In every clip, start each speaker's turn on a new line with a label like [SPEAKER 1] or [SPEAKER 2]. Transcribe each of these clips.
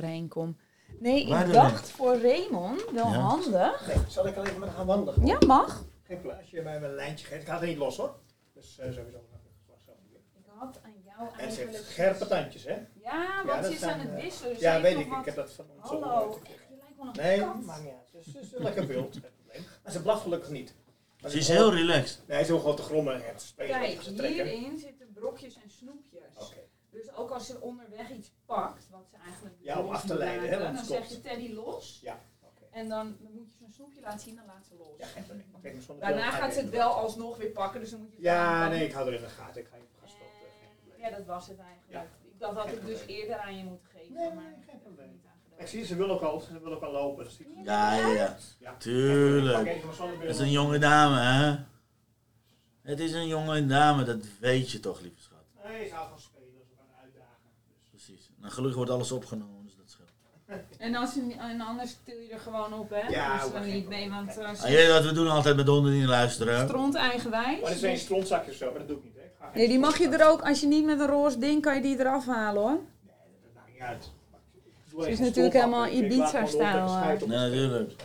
[SPEAKER 1] overheen kom. Nee,
[SPEAKER 2] Waar
[SPEAKER 1] ik
[SPEAKER 2] dan
[SPEAKER 1] dacht voor Raymond wel
[SPEAKER 2] Ja.
[SPEAKER 1] handig.
[SPEAKER 3] Nee, zal ik al even met haar wandelen?
[SPEAKER 1] Ja, mag.
[SPEAKER 3] Geen pla- Als je mij wel een lijntje geeft. Ik haal het niet los hoor. Dus eh, sowieso.
[SPEAKER 1] Ik had aan jou
[SPEAKER 3] En ze heeft
[SPEAKER 1] eigenlijk...
[SPEAKER 3] scherpe tandjes, hè?
[SPEAKER 1] ja,
[SPEAKER 3] Ja,
[SPEAKER 1] want
[SPEAKER 3] dat
[SPEAKER 1] je is aan
[SPEAKER 3] zijn,
[SPEAKER 1] het
[SPEAKER 3] eh,
[SPEAKER 1] wisselen. Dus
[SPEAKER 3] ja,
[SPEAKER 1] hij
[SPEAKER 3] weet
[SPEAKER 1] heeft
[SPEAKER 3] ik.
[SPEAKER 1] nog
[SPEAKER 3] Ik
[SPEAKER 1] wat-
[SPEAKER 3] heb dat van ons
[SPEAKER 1] Hallo,
[SPEAKER 3] gehoord.
[SPEAKER 1] echt, je lijkt wel een
[SPEAKER 3] Nee,
[SPEAKER 1] kat.
[SPEAKER 3] maakt niet uit. Ze is- Ze is lekker wild. Geen probleem. Maar ze blaft gelukkig niet. Maar
[SPEAKER 2] Ze is heel relaxed.
[SPEAKER 3] Nee, ze wil gewoon te grommen en te spelen.
[SPEAKER 1] Kijk,
[SPEAKER 3] en te trekken. Oh.
[SPEAKER 1] hierin zitten brokjes en snoepjes.
[SPEAKER 3] Oké.
[SPEAKER 1] Dus ook als ze onderweg iets pakt, wat ze eigenlijk
[SPEAKER 3] Ja, om
[SPEAKER 1] los
[SPEAKER 3] af te
[SPEAKER 1] moet
[SPEAKER 3] leiden, hè,
[SPEAKER 1] laten,
[SPEAKER 3] want
[SPEAKER 1] Dan
[SPEAKER 3] het
[SPEAKER 1] zeg je Teddy los.
[SPEAKER 3] Ja, oké.
[SPEAKER 1] En dan moet je zo'n snoepje laten zien, dan laat ze los.
[SPEAKER 3] Ja, geen probleem. Kijk, maar zonder
[SPEAKER 1] Daarna
[SPEAKER 3] bril
[SPEAKER 1] gaat ze het
[SPEAKER 3] even
[SPEAKER 1] wel
[SPEAKER 3] doen.
[SPEAKER 1] alsnog weer pakken, dus dan moet je het
[SPEAKER 3] Ja,
[SPEAKER 1] aanpakken.
[SPEAKER 3] nee, ik hou er in de gaten. Ik ga je op gas stoppen. eh, Geen
[SPEAKER 1] En-
[SPEAKER 3] probleem.
[SPEAKER 1] Eh, Ja, dat was het eigenlijk. Ik dacht dat
[SPEAKER 3] Geen
[SPEAKER 1] ik dus
[SPEAKER 3] probleem.
[SPEAKER 1] eerder aan je moet geven.
[SPEAKER 3] Nee,
[SPEAKER 1] maar
[SPEAKER 3] nee, geen
[SPEAKER 1] ik heb
[SPEAKER 3] probleem.
[SPEAKER 1] er niet aan gedacht.
[SPEAKER 3] Ik zie, ze wil ook al, ze wil ook al lopen. Dat zie ik.
[SPEAKER 2] Ja, ja, ja.
[SPEAKER 3] Ja. Pak
[SPEAKER 2] Tuurlijk.
[SPEAKER 3] even mijn zonnebril.
[SPEAKER 2] Het is een jonge dame, hè? Het is een jonge dame, dat weet je toch, lieve schat.
[SPEAKER 3] Nee, ze houdt van spelen. Ze gaan uitdagen. Dus.
[SPEAKER 2] Precies. Nou, gelukkig wordt alles opgenomen, dus dat scheelt.
[SPEAKER 1] En, als je, en anders til je er gewoon op, hè?
[SPEAKER 3] Ja,
[SPEAKER 1] dus
[SPEAKER 3] maar
[SPEAKER 1] dan
[SPEAKER 3] geen
[SPEAKER 1] niet mee,
[SPEAKER 3] probleem.
[SPEAKER 1] want
[SPEAKER 3] Kijk.
[SPEAKER 1] uh,
[SPEAKER 2] Ah, je weet wat we doen altijd met honden die luisteren. hè?
[SPEAKER 1] stront eigenwijs.
[SPEAKER 3] Maar er zijn strontzakjes zo, maar dat doe ik niet. Hè. Ik ga geen
[SPEAKER 1] Nee, die mag je
[SPEAKER 3] strontzak-
[SPEAKER 1] er ook, als je niet met een roze ding, kan je die eraf halen hoor.
[SPEAKER 3] Nee, dat maakt niet uit. Ik doe
[SPEAKER 1] Ze is
[SPEAKER 3] even
[SPEAKER 1] natuurlijk
[SPEAKER 3] een
[SPEAKER 1] helemaal
[SPEAKER 3] strontzak. Ik laat gewoon
[SPEAKER 1] Ibiza-stijl,
[SPEAKER 3] lopen en schijt op
[SPEAKER 2] eh.
[SPEAKER 3] het
[SPEAKER 2] Nee,
[SPEAKER 3] scherm.
[SPEAKER 2] natuurlijk.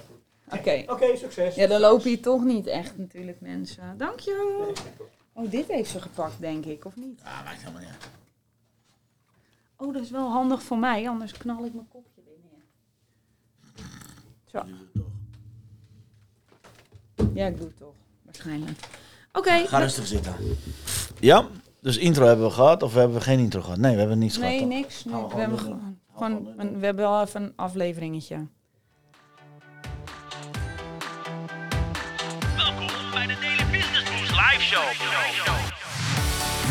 [SPEAKER 1] Oké.
[SPEAKER 3] Oké, succes.
[SPEAKER 1] Ja, dan lopen hier toch niet echt natuurlijk mensen. Dank je. Oh, dit heeft ze gepakt denk ik, of niet?
[SPEAKER 2] Ah, maakt helemaal niet uit.
[SPEAKER 1] Oh, dat is wel handig voor mij, anders knal ik mijn kopje weer neer.
[SPEAKER 2] Die doet het toch.
[SPEAKER 1] Ja, ik doe het toch. Waarschijnlijk. Oké.
[SPEAKER 2] Ga dus- rustig zitten. Ja, dus intro hebben we gehad of hebben we geen intro gehad? Nee, we hebben niets gehad.
[SPEAKER 1] Nee,
[SPEAKER 2] toch?
[SPEAKER 1] niks. Nee,
[SPEAKER 2] Gaan we
[SPEAKER 1] we, hebben
[SPEAKER 2] gewoon
[SPEAKER 1] gewoon,
[SPEAKER 2] Gaan we
[SPEAKER 1] gewoon
[SPEAKER 2] gewoon doen.
[SPEAKER 1] een- we hebben wel even een afleveringetje.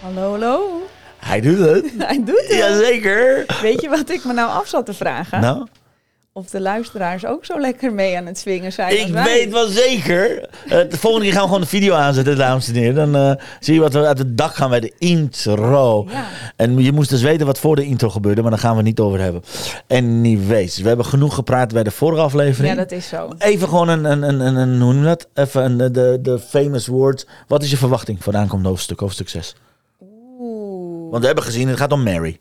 [SPEAKER 1] Hallo, hallo.
[SPEAKER 2] Hij doet het.
[SPEAKER 1] Hij doet het.
[SPEAKER 2] Jazeker.
[SPEAKER 1] Weet je wat ik me nou af zat te vragen?
[SPEAKER 2] Nou,
[SPEAKER 1] Of de luisteraars ook zo lekker mee aan het swingen zijn als
[SPEAKER 2] ik
[SPEAKER 1] wij.
[SPEAKER 2] weet wel zeker. Eh, de volgende keer gaan we gewoon de video aanzetten, dames en heren. Dan eh, zie je wat we uit het dak gaan bij de intro.
[SPEAKER 1] Ja.
[SPEAKER 2] En je moest dus weten wat voor de intro gebeurde, maar daar gaan we het niet over hebben. Anyways, we hebben genoeg gepraat bij de vorige aflevering.
[SPEAKER 1] Ja, dat is zo.
[SPEAKER 2] Even gewoon een, een, een, een, een- hoe noem je dat? Even een, eh, de, de famous words. Wat is je verwachting voor de aankomende hoofdstuk, hoofdstuk 6?
[SPEAKER 1] Oeh.
[SPEAKER 2] Want we hebben gezien, het gaat om Mary.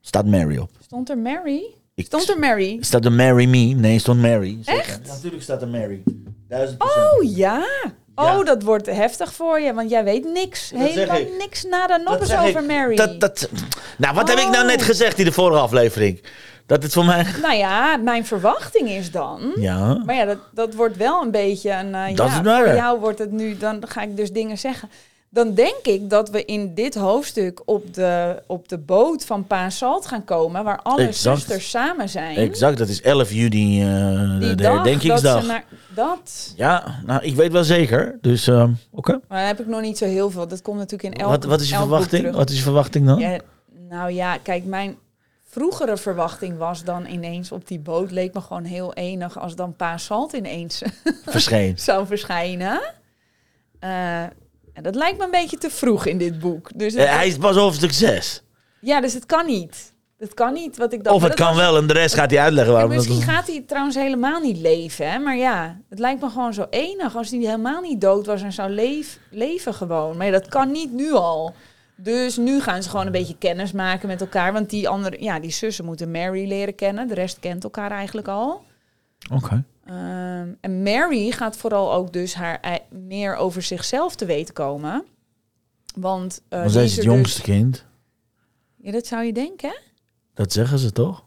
[SPEAKER 2] Staat Mary op.
[SPEAKER 1] Stond er Mary?
[SPEAKER 2] Ik-
[SPEAKER 1] Stond er Mary?
[SPEAKER 2] Staat er Mary Me? Nee, stond Mary. Echt? Natuurlijk staat er Mary. Duizend procent.
[SPEAKER 1] Oh ja.
[SPEAKER 2] Ja.
[SPEAKER 1] Oh, dat wordt heftig voor je, want jij weet niks.
[SPEAKER 2] Dat zeg
[SPEAKER 1] Helemaal
[SPEAKER 2] ik.
[SPEAKER 1] niks nada nog eens
[SPEAKER 2] zeg
[SPEAKER 1] over
[SPEAKER 2] ik.
[SPEAKER 1] Mary.
[SPEAKER 2] Dat, dat, nou, wat heb ik nou
[SPEAKER 1] Oh.
[SPEAKER 2] net gezegd in de vorige aflevering? Dat het voor mij...
[SPEAKER 1] Nou ja, mijn verwachting is dan.
[SPEAKER 2] Ja.
[SPEAKER 1] Maar ja, dat, dat wordt wel een beetje een. eh,
[SPEAKER 2] Dat
[SPEAKER 1] ja,
[SPEAKER 2] is het maar.
[SPEAKER 1] Voor jou wordt het nu, dan ga ik dus dingen zeggen. Dan denk ik dat we in dit hoofdstuk op de, op de boot van Paasalt gaan komen, waar alle
[SPEAKER 2] Exact.
[SPEAKER 1] zusters samen zijn.
[SPEAKER 2] Exact, dat is 11 juni, eh
[SPEAKER 1] Die
[SPEAKER 2] de, de
[SPEAKER 1] dag dat
[SPEAKER 2] herdenkingsdag.
[SPEAKER 1] ze naar dat.
[SPEAKER 2] Ja, nou, ik weet wel zeker. Dus, ehm, oké.
[SPEAKER 1] Maar dan heb ik nog niet zo heel veel. Dat komt natuurlijk in elk.
[SPEAKER 2] Wat, wat is je
[SPEAKER 1] elk boek
[SPEAKER 2] verwachting?
[SPEAKER 1] terug.
[SPEAKER 2] Wat is je verwachting dan?
[SPEAKER 1] Ja, nou ja, kijk, mijn vroegere verwachting was dan ineens op die boot leek me gewoon heel enig als dan Paasalt ineens
[SPEAKER 2] Verscheen.
[SPEAKER 1] zou verschijnen. Eh, en dat lijkt me een beetje te vroeg in dit boek. Dus het-
[SPEAKER 2] Eh, hij is pas hoofdstuk 6.
[SPEAKER 1] Ja, dus het kan niet. Het kan niet wat ik dacht.
[SPEAKER 2] Of
[SPEAKER 1] Maar
[SPEAKER 2] het
[SPEAKER 1] dat
[SPEAKER 2] kan
[SPEAKER 1] was-
[SPEAKER 2] wel en de rest gaat hij uitleggen
[SPEAKER 1] En
[SPEAKER 2] waarom dat...
[SPEAKER 1] misschien gaat hij trouwens helemaal niet leven, hè? maar ja, het lijkt me gewoon zo enig als hij helemaal niet dood was en zou leef- leven gewoon. Maar ja, dat kan niet nu al. Dus nu gaan ze gewoon een beetje kennis maken met elkaar, want die andere, ja, die zussen moeten Mary leren kennen. De rest kent elkaar eigenlijk al.
[SPEAKER 2] Oké.
[SPEAKER 1] Ehm, en Mary gaat vooral ook dus haar ei- meer over zichzelf te weten komen. Want, eh,
[SPEAKER 2] Want
[SPEAKER 1] die
[SPEAKER 2] zij is
[SPEAKER 1] er
[SPEAKER 2] het
[SPEAKER 1] dus-
[SPEAKER 2] jongste kind.
[SPEAKER 1] ja, dat zou je denken. hè?
[SPEAKER 2] Dat zeggen ze toch?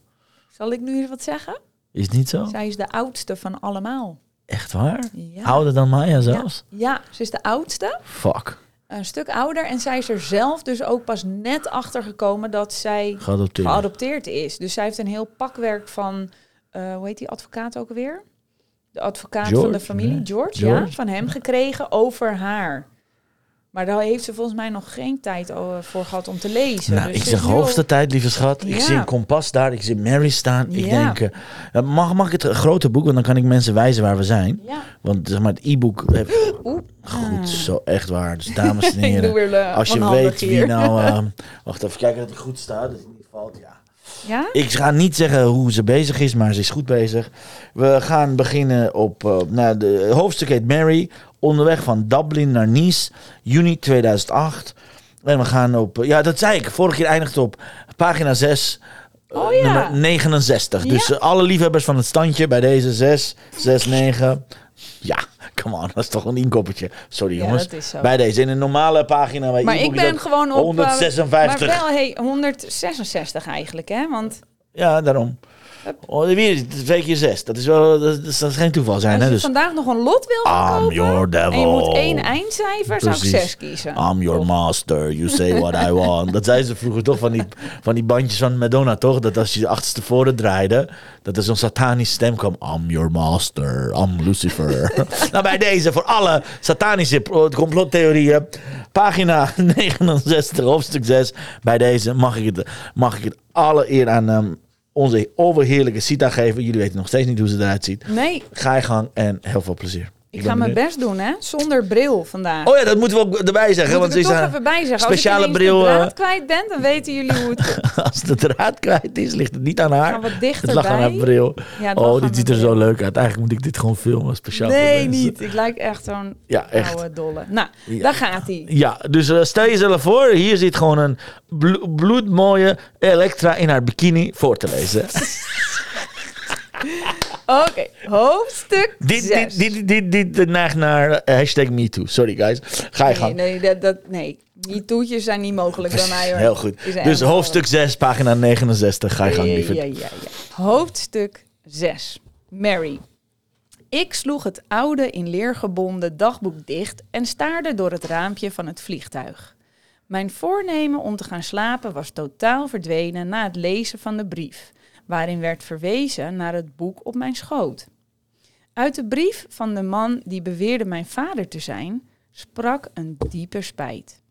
[SPEAKER 1] Zal ik nu eens wat zeggen?
[SPEAKER 2] Is het niet zo?
[SPEAKER 1] Zij is de oudste van allemaal.
[SPEAKER 2] Echt waar?
[SPEAKER 1] Ja.
[SPEAKER 2] Ouder dan Maya zelfs?
[SPEAKER 1] Ja, ze is de oudste.
[SPEAKER 2] Fuck.
[SPEAKER 1] Een stuk ouder. En zij is er zelf dus ook pas net achter gekomen dat zij
[SPEAKER 2] Geadopteerd.
[SPEAKER 1] geadopteerd is. Dus zij heeft een heel pakwerk van, eh, hoe heet die advocaat ook alweer? De advocaat van
[SPEAKER 2] George,
[SPEAKER 1] de familie,
[SPEAKER 2] nee.
[SPEAKER 1] George, ja,
[SPEAKER 2] George.
[SPEAKER 1] van hem gekregen over haar. Maar daar heeft ze volgens mij nog geen tijd eh, voor gehad om te lezen.
[SPEAKER 2] Nou,
[SPEAKER 1] Dus
[SPEAKER 2] ik
[SPEAKER 1] ze
[SPEAKER 2] zeg
[SPEAKER 1] is nu al-
[SPEAKER 2] hoogste tijd, lieve schat. Ik
[SPEAKER 1] Ja.
[SPEAKER 2] zie een kompas daar, ik zie Mary staan. Ik
[SPEAKER 1] Ja.
[SPEAKER 2] denk, eh, mag, mag ik het grote boek, want dan kan ik mensen wijzen waar we zijn.
[SPEAKER 1] Ja,
[SPEAKER 2] Want zeg maar, het e-book... heeft-
[SPEAKER 1] Oeh.
[SPEAKER 2] Goed, zo echt waar. Dus dames en
[SPEAKER 1] ah. ik doe
[SPEAKER 2] heren,
[SPEAKER 1] weer eh,
[SPEAKER 2] als je
[SPEAKER 1] onhandig
[SPEAKER 2] weet wie
[SPEAKER 1] hier.
[SPEAKER 2] nou... eh, wacht even kijken dat het goed staat, dat het niet valt, ja.
[SPEAKER 1] Ja?
[SPEAKER 2] Ik ga niet zeggen hoe ze bezig is, maar ze is goed bezig. We gaan beginnen op eh, nou, de hoofdstuk heet Mary. Onderweg van Dublin naar Nice, juni 2008. En we gaan op, eh, ja dat zei ik, vorige keer eindigt op pagina 6, eh,
[SPEAKER 1] Oh ja.
[SPEAKER 2] nummer 69. Dus eh, alle liefhebbers van het standje bij deze 6, 6, 9. Ja, come on, dat is toch een inkoppertje. Sorry
[SPEAKER 1] Ja,
[SPEAKER 2] jongens.
[SPEAKER 1] dat is zo.
[SPEAKER 2] Bij deze, in een normale pagina. Bij
[SPEAKER 1] Maar
[SPEAKER 2] e-book
[SPEAKER 1] ik
[SPEAKER 2] is
[SPEAKER 1] ben
[SPEAKER 2] dat
[SPEAKER 1] gewoon op... eh,
[SPEAKER 2] 156.
[SPEAKER 1] Maar wel hey, 166 eigenlijk, hè? Want
[SPEAKER 2] Ja, daarom. Oh, weer twee keer zes. Dat is wel, dat, dat is geen toeval zijn,
[SPEAKER 1] als
[SPEAKER 2] hè?
[SPEAKER 1] je
[SPEAKER 2] Dus,
[SPEAKER 1] vandaag nog een lot wil
[SPEAKER 2] I'm
[SPEAKER 1] verkopen...
[SPEAKER 2] your devil.
[SPEAKER 1] en je moet één eindcijfer, zou ik
[SPEAKER 2] Precies.
[SPEAKER 1] 6 kiezen.
[SPEAKER 2] I'm your master, you say what I want. Dat zeiden ze vroeger toch van die, van die bandjes van Madonna, toch? Dat als je de achterstevoren draaide, dat er zo'n satanische stem kwam. I'm your master, I'm Lucifer. nou, bij deze, voor alle satanische pro- complottheorieën, pagina 69, hoofdstuk 6. Bij deze mag ik het, mag ik het alle eer aan ehm, onze overheerlijke Sita geven. Jullie weten nog steeds niet hoe ze eruit ziet.
[SPEAKER 1] Nee,
[SPEAKER 2] Ga je gang en heel veel plezier.
[SPEAKER 1] ik,
[SPEAKER 2] ben
[SPEAKER 1] ga mijn
[SPEAKER 2] benieuwd.
[SPEAKER 1] best doen, hè? Zonder bril vandaag.
[SPEAKER 2] Oh ja, dat moeten we ook erbij zeggen.
[SPEAKER 1] Moet
[SPEAKER 2] want
[SPEAKER 1] ik er
[SPEAKER 2] ze is
[SPEAKER 1] toch
[SPEAKER 2] aan-
[SPEAKER 1] even bij zeggen.
[SPEAKER 2] speciale
[SPEAKER 1] Als ik
[SPEAKER 2] bril,
[SPEAKER 1] bril, de
[SPEAKER 2] eh,
[SPEAKER 1] draad kwijt ben, dan weten jullie hoe het...
[SPEAKER 2] Als de draad kwijt is, ligt het niet aan haar.
[SPEAKER 1] Gaan wat
[SPEAKER 2] Het lag aan haar
[SPEAKER 1] dichterbij.
[SPEAKER 2] bril.
[SPEAKER 1] Ja, het lag
[SPEAKER 2] oh,
[SPEAKER 1] aan
[SPEAKER 2] dit ziet er
[SPEAKER 1] mijn
[SPEAKER 2] zo leuk uit. Eigenlijk moet ik dit gewoon filmen, speciaal voor
[SPEAKER 1] Nee,
[SPEAKER 2] mensen.
[SPEAKER 1] niet. Ik lijk echt zo'n
[SPEAKER 2] Ja, echt.
[SPEAKER 1] oude dolle. Nou,
[SPEAKER 2] Ja.
[SPEAKER 1] daar gaat hij.
[SPEAKER 2] Ja, dus eh, stel jezelf voor. Hier zit gewoon een blo- bloedmooie Elektra in haar bikini voor te lezen.
[SPEAKER 1] Oké, hoofdstuk
[SPEAKER 2] dit,
[SPEAKER 1] zes.
[SPEAKER 2] dit, dit, dit, dit, eh, neigt naar eh, hashtag MeToo. Sorry guys. Ga je
[SPEAKER 1] Nee,
[SPEAKER 2] gang.
[SPEAKER 1] nee, dat, dat, nee, die toetjes zijn niet mogelijk bij mij hoor.
[SPEAKER 2] Heel goed.
[SPEAKER 1] Is er
[SPEAKER 2] Dus
[SPEAKER 1] erg
[SPEAKER 2] hoofdstuk 6, pagina 69. Ga je gang, lieverd.
[SPEAKER 1] Ja, ja, ja, ja. Hoofdstuk 6. Mary. Ik sloeg het oude in leer gebonden dagboek dicht en staarde door het raampje van het vliegtuig. Mijn voornemen om te gaan slapen was totaal verdwenen na het lezen van de brief, waarin werd verwezen naar het boek op mijn schoot. Uit de brief van de man die beweerde mijn vader te zijn, sprak een diepe spijt.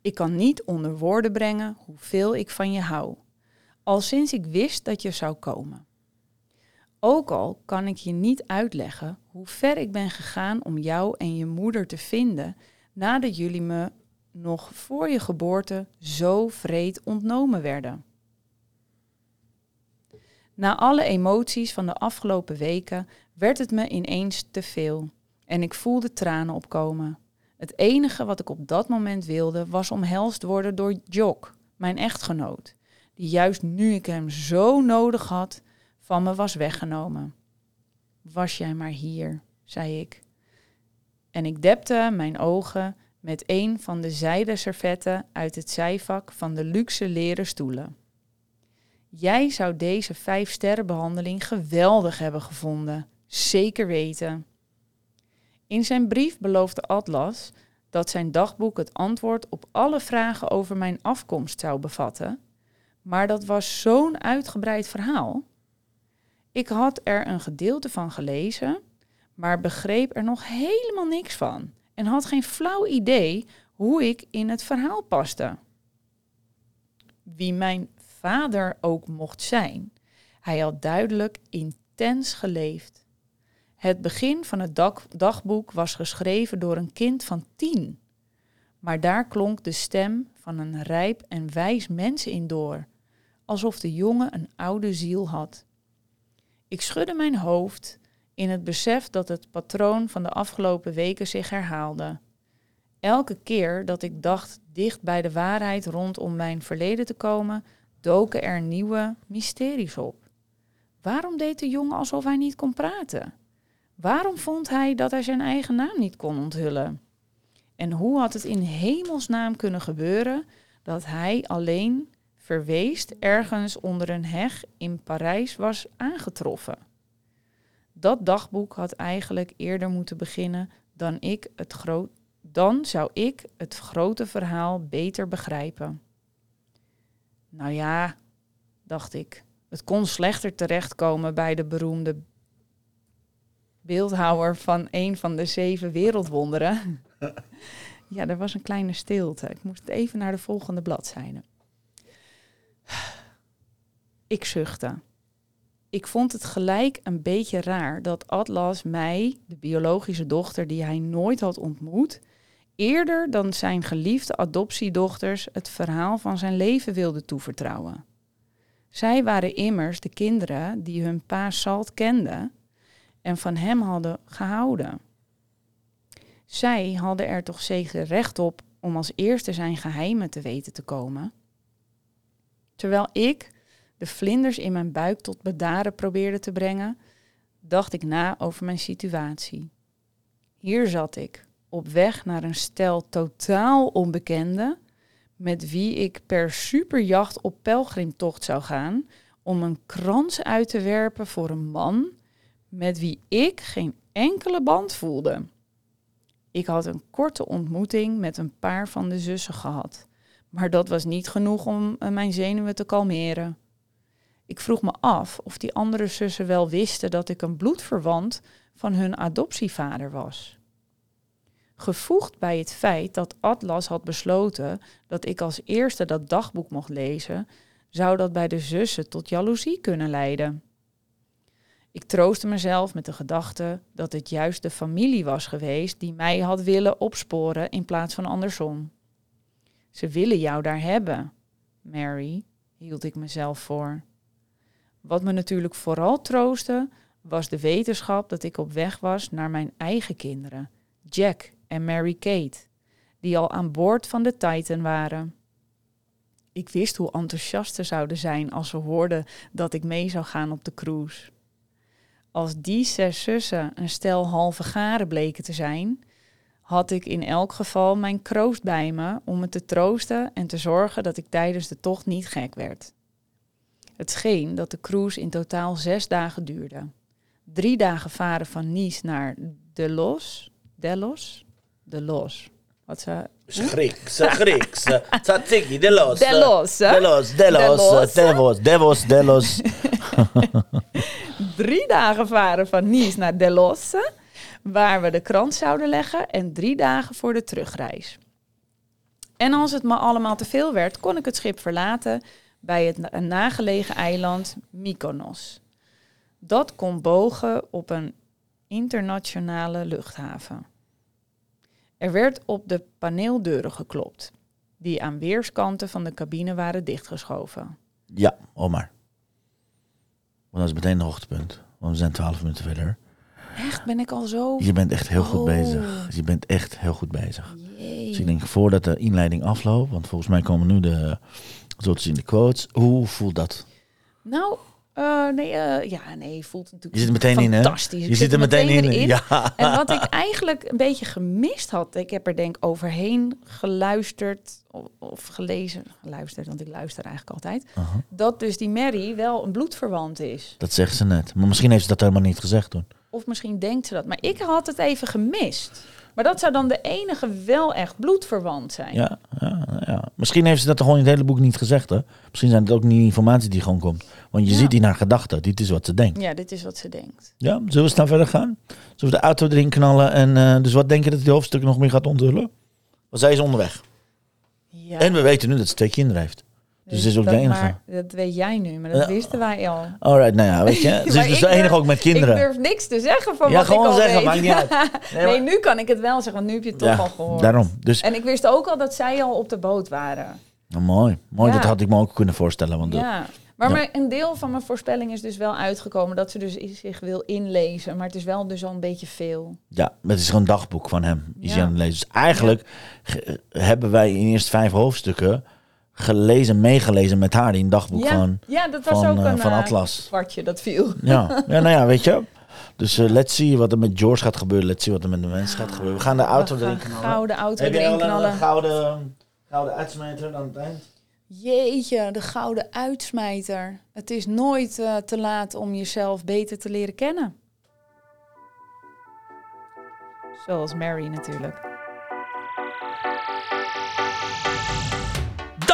[SPEAKER 1] Ik kan niet onder woorden brengen hoeveel ik van je hou, al sinds ik wist dat je zou komen. Ook al kan ik je niet uitleggen hoe ver ik ben gegaan om jou en je moeder te vinden nadat jullie me nog voor je geboorte zo vreed ontnomen werden. Na alle emoties van de afgelopen weken werd het me ineens te veel en ik voelde tranen opkomen. Het enige wat ik op dat moment wilde was omhelst worden door Jock, mijn echtgenoot, die juist nu ik hem zo nodig had, van me was weggenomen. Was jij maar hier, zei ik. En ik depte mijn ogen met een van de zijden servetten uit het zijvak van de luxe leren stoelen. Jij zou deze vijf sterrenbehandeling geweldig hebben gevonden, zeker weten. In zijn brief beloofde Atlas dat zijn dagboek het antwoord op alle vragen over mijn afkomst zou bevatten. Maar dat was zo'n uitgebreid verhaal. Ik had er een gedeelte van gelezen, maar begreep er nog helemaal niks van en had geen flauw idee hoe ik in het verhaal paste. Wie mijn vader ook mocht zijn, hij had duidelijk intens geleefd. Het begin van het dak- dagboek was geschreven door een kind van tien. Maar daar klonk de stem van een rijp en wijs mens in door, alsof de jongen een oude ziel had. Ik schudde mijn hoofd in het besef dat het patroon van de afgelopen weken zich herhaalde. Elke keer dat ik dacht dicht bij de waarheid rondom mijn verleden te komen, doken er nieuwe mysteries op. Waarom deed de jongen alsof hij niet kon praten? Waarom vond hij dat hij zijn eigen naam niet kon onthullen? En hoe had het in hemelsnaam kunnen gebeuren dat hij alleen verweest ergens onder een heg in Parijs was aangetroffen? Dat dagboek had eigenlijk eerder moeten beginnen dan ik het groot. Dan zou ik het grote verhaal beter begrijpen. Nou ja, dacht ik. Het kon slechter terechtkomen bij de beroemde beeldhouwer van een van de zeven wereldwonderen. Ja, er was een kleine stilte. Ik moest even naar de volgende bladzijde. Ik zuchtte. Ik vond het gelijk een beetje raar dat Atlas mij, de biologische dochter die hij nooit had ontmoet, eerder dan zijn geliefde adoptiedochters het verhaal van zijn leven wilde toevertrouwen. Zij waren immers de kinderen die hun pa Salt kenden en van hem hadden gehouden. Zij hadden er toch zeker recht op om als eerste zijn geheimen te weten te komen. Terwijl ik de vlinders in mijn buik tot bedaren probeerde te brengen, dacht ik na over mijn situatie. Hier zat ik, op weg naar een stel totaal onbekenden, met wie ik per superjacht op pelgrimtocht zou gaan om een krans uit te werpen voor een man met wie ik geen enkele band voelde. Ik had een korte ontmoeting met een paar van de zussen gehad, maar dat was niet genoeg om eh, mijn zenuwen te kalmeren. Ik vroeg me af of die andere zussen wel wisten dat ik een bloedverwant van hun adoptievader was. Gevoegd bij het feit dat Atlas had besloten dat ik als eerste dat dagboek mocht lezen, zou dat bij de zussen tot jaloezie kunnen leiden. Ik troostte mezelf met de gedachte dat het juist de familie was geweest die mij had willen opsporen in plaats van andersom. Ze willen jou daar hebben, Mary, hield ik mezelf voor. Wat me natuurlijk vooral troostte, was de wetenschap dat ik op weg was naar mijn eigen kinderen, Jack en Mary Kate, die al aan boord van de Titan waren. Ik wist hoe enthousiast ze zouden zijn als ze hoorden dat ik mee zou gaan op de cruise. Als die zes zussen een stel halve garen bleken te zijn, had ik in elk geval mijn kroost bij me om me te troosten en te zorgen dat ik tijdens de tocht niet gek werd. Het scheen dat de cruise in totaal zes dagen duurde. Drie dagen varen van Nice naar Delos. Delos? Delos. Wat ze...
[SPEAKER 2] Grieks, Grieks. Tzatziki, Delos.
[SPEAKER 1] Delos, hè?
[SPEAKER 2] Delos, Delos,
[SPEAKER 1] Delos.
[SPEAKER 2] Delos, Delos, Delos.
[SPEAKER 1] Drie dagen varen van Nice naar Delos, waar we de krant zouden leggen en drie dagen voor de terugreis. En als het me allemaal te veel werd, kon ik het schip verlaten bij het na- een nagelegen eiland Mykonos. Dat kon bogen op een internationale luchthaven. Er werd op de paneeldeuren geklopt, die aan weerskanten van de cabine waren dichtgeschoven.
[SPEAKER 2] Ja, Omar. Want dat is meteen een hoogtepunt. Want we zijn twaalf minuten verder.
[SPEAKER 1] Echt, ben ik al zo...
[SPEAKER 2] Je bent echt heel goed
[SPEAKER 1] Oh.
[SPEAKER 2] bezig. Je bent echt heel goed bezig. Dus ik
[SPEAKER 1] Jee.
[SPEAKER 2] denk, voordat de inleiding afloopt, want volgens mij komen nu de, zo te zien, de quotes. Hoe voelt dat?
[SPEAKER 1] Nou, eh, nee, eh, ja, nee, voelt natuurlijk
[SPEAKER 2] Je zit er meteen in, hè?
[SPEAKER 1] fantastisch. Ik
[SPEAKER 2] Je zit er meteen in. Ja.
[SPEAKER 1] En wat ik eigenlijk een beetje gemist had, ik heb er denk ik overheen geluisterd of, of gelezen, geluisterd, want ik luister eigenlijk altijd,
[SPEAKER 2] Aha.
[SPEAKER 1] dat dus die Mary wel een bloedverwant is.
[SPEAKER 2] Uh-huh. Dat zegt ze net. Maar misschien heeft ze dat helemaal niet gezegd toen.
[SPEAKER 1] Of misschien denkt ze dat, maar ik had het even gemist. Maar dat zou dan de enige wel echt bloedverwant zijn.
[SPEAKER 2] Ja, ja, ja. Misschien heeft ze dat gewoon in het hele boek niet gezegd. Hè? Misschien zijn het ook niet informatie die gewoon komt. Want je
[SPEAKER 1] Ja.
[SPEAKER 2] ziet in haar gedachten. Dit is wat ze denkt.
[SPEAKER 1] Ja, dit is wat ze denkt.
[SPEAKER 2] Ja, zullen we snel verder gaan? Zullen we de auto erin knallen? En, eh, dus wat denk je dat die hoofdstuk nog meer gaat onthullen? Want zij is onderweg.
[SPEAKER 1] Ja,
[SPEAKER 2] En we weten nu dat ze twee kinderen heeft. Dus ze is ook
[SPEAKER 1] dat-
[SPEAKER 2] de enige.
[SPEAKER 1] Maar, dat weet jij nu, maar dat
[SPEAKER 2] Ja.
[SPEAKER 1] wisten wij al.
[SPEAKER 2] Alright, nou ja, weet je. Ze is
[SPEAKER 1] Maar
[SPEAKER 2] dus
[SPEAKER 1] ik
[SPEAKER 2] de enige
[SPEAKER 1] durf-
[SPEAKER 2] ook met kinderen.
[SPEAKER 1] Ik durf niks te zeggen van
[SPEAKER 2] Ja,
[SPEAKER 1] wat
[SPEAKER 2] gewoon
[SPEAKER 1] ik al
[SPEAKER 2] zeggen,
[SPEAKER 1] weet.
[SPEAKER 2] maakt niet uit.
[SPEAKER 1] Nee,
[SPEAKER 2] maar-
[SPEAKER 1] nu kan ik het wel zeggen, want nu heb je het toch
[SPEAKER 2] Ja,
[SPEAKER 1] al gehoord.
[SPEAKER 2] daarom. Dus
[SPEAKER 1] En ik wist ook al dat zij al op de boot waren.
[SPEAKER 2] nou, mooi. Mooi,
[SPEAKER 1] Ja.
[SPEAKER 2] dat had ik me ook kunnen voorstellen. Want eh, dat-
[SPEAKER 1] Ja. Maar,
[SPEAKER 2] Ja.
[SPEAKER 1] maar een deel van mijn voorspelling is dus wel uitgekomen dat ze dus i- zich wil inlezen. Maar het is wel dus al een beetje veel.
[SPEAKER 2] Ja, maar het is gewoon een dagboek van hem. Is
[SPEAKER 1] Ja.
[SPEAKER 2] hij aan het lezen. Dus eigenlijk ge- hebben wij in eerst vijf hoofdstukken gelezen, meegelezen met haar in een dagboek
[SPEAKER 1] ja.
[SPEAKER 2] van,
[SPEAKER 1] ja, dat was
[SPEAKER 2] van,
[SPEAKER 1] ook
[SPEAKER 2] eh,
[SPEAKER 1] een
[SPEAKER 2] van
[SPEAKER 1] eh,
[SPEAKER 2] Atlas.
[SPEAKER 1] kwartje dat viel.
[SPEAKER 2] Ja. ja, nou ja, weet je. Dus eh, let's see wat er met George gaat gebeuren. Let's see wat er met de mens gaat gebeuren. We gaan de auto
[SPEAKER 1] We
[SPEAKER 2] erin
[SPEAKER 1] gaan
[SPEAKER 2] knallen.
[SPEAKER 1] Gouden auto
[SPEAKER 2] Heb jij
[SPEAKER 1] erin
[SPEAKER 2] al een
[SPEAKER 1] knallen.
[SPEAKER 2] eh, gouden, gouden uitsmijter aan het eind?
[SPEAKER 1] Jeetje, de gouden uitsmijter. Het is nooit eh, te laat om jezelf beter te leren kennen. Zoals Mary natuurlijk.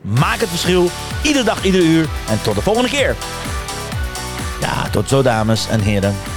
[SPEAKER 2] Maak het verschil, iedere dag, iedere uur. En tot de volgende keer. Ja, tot zo dames en heren.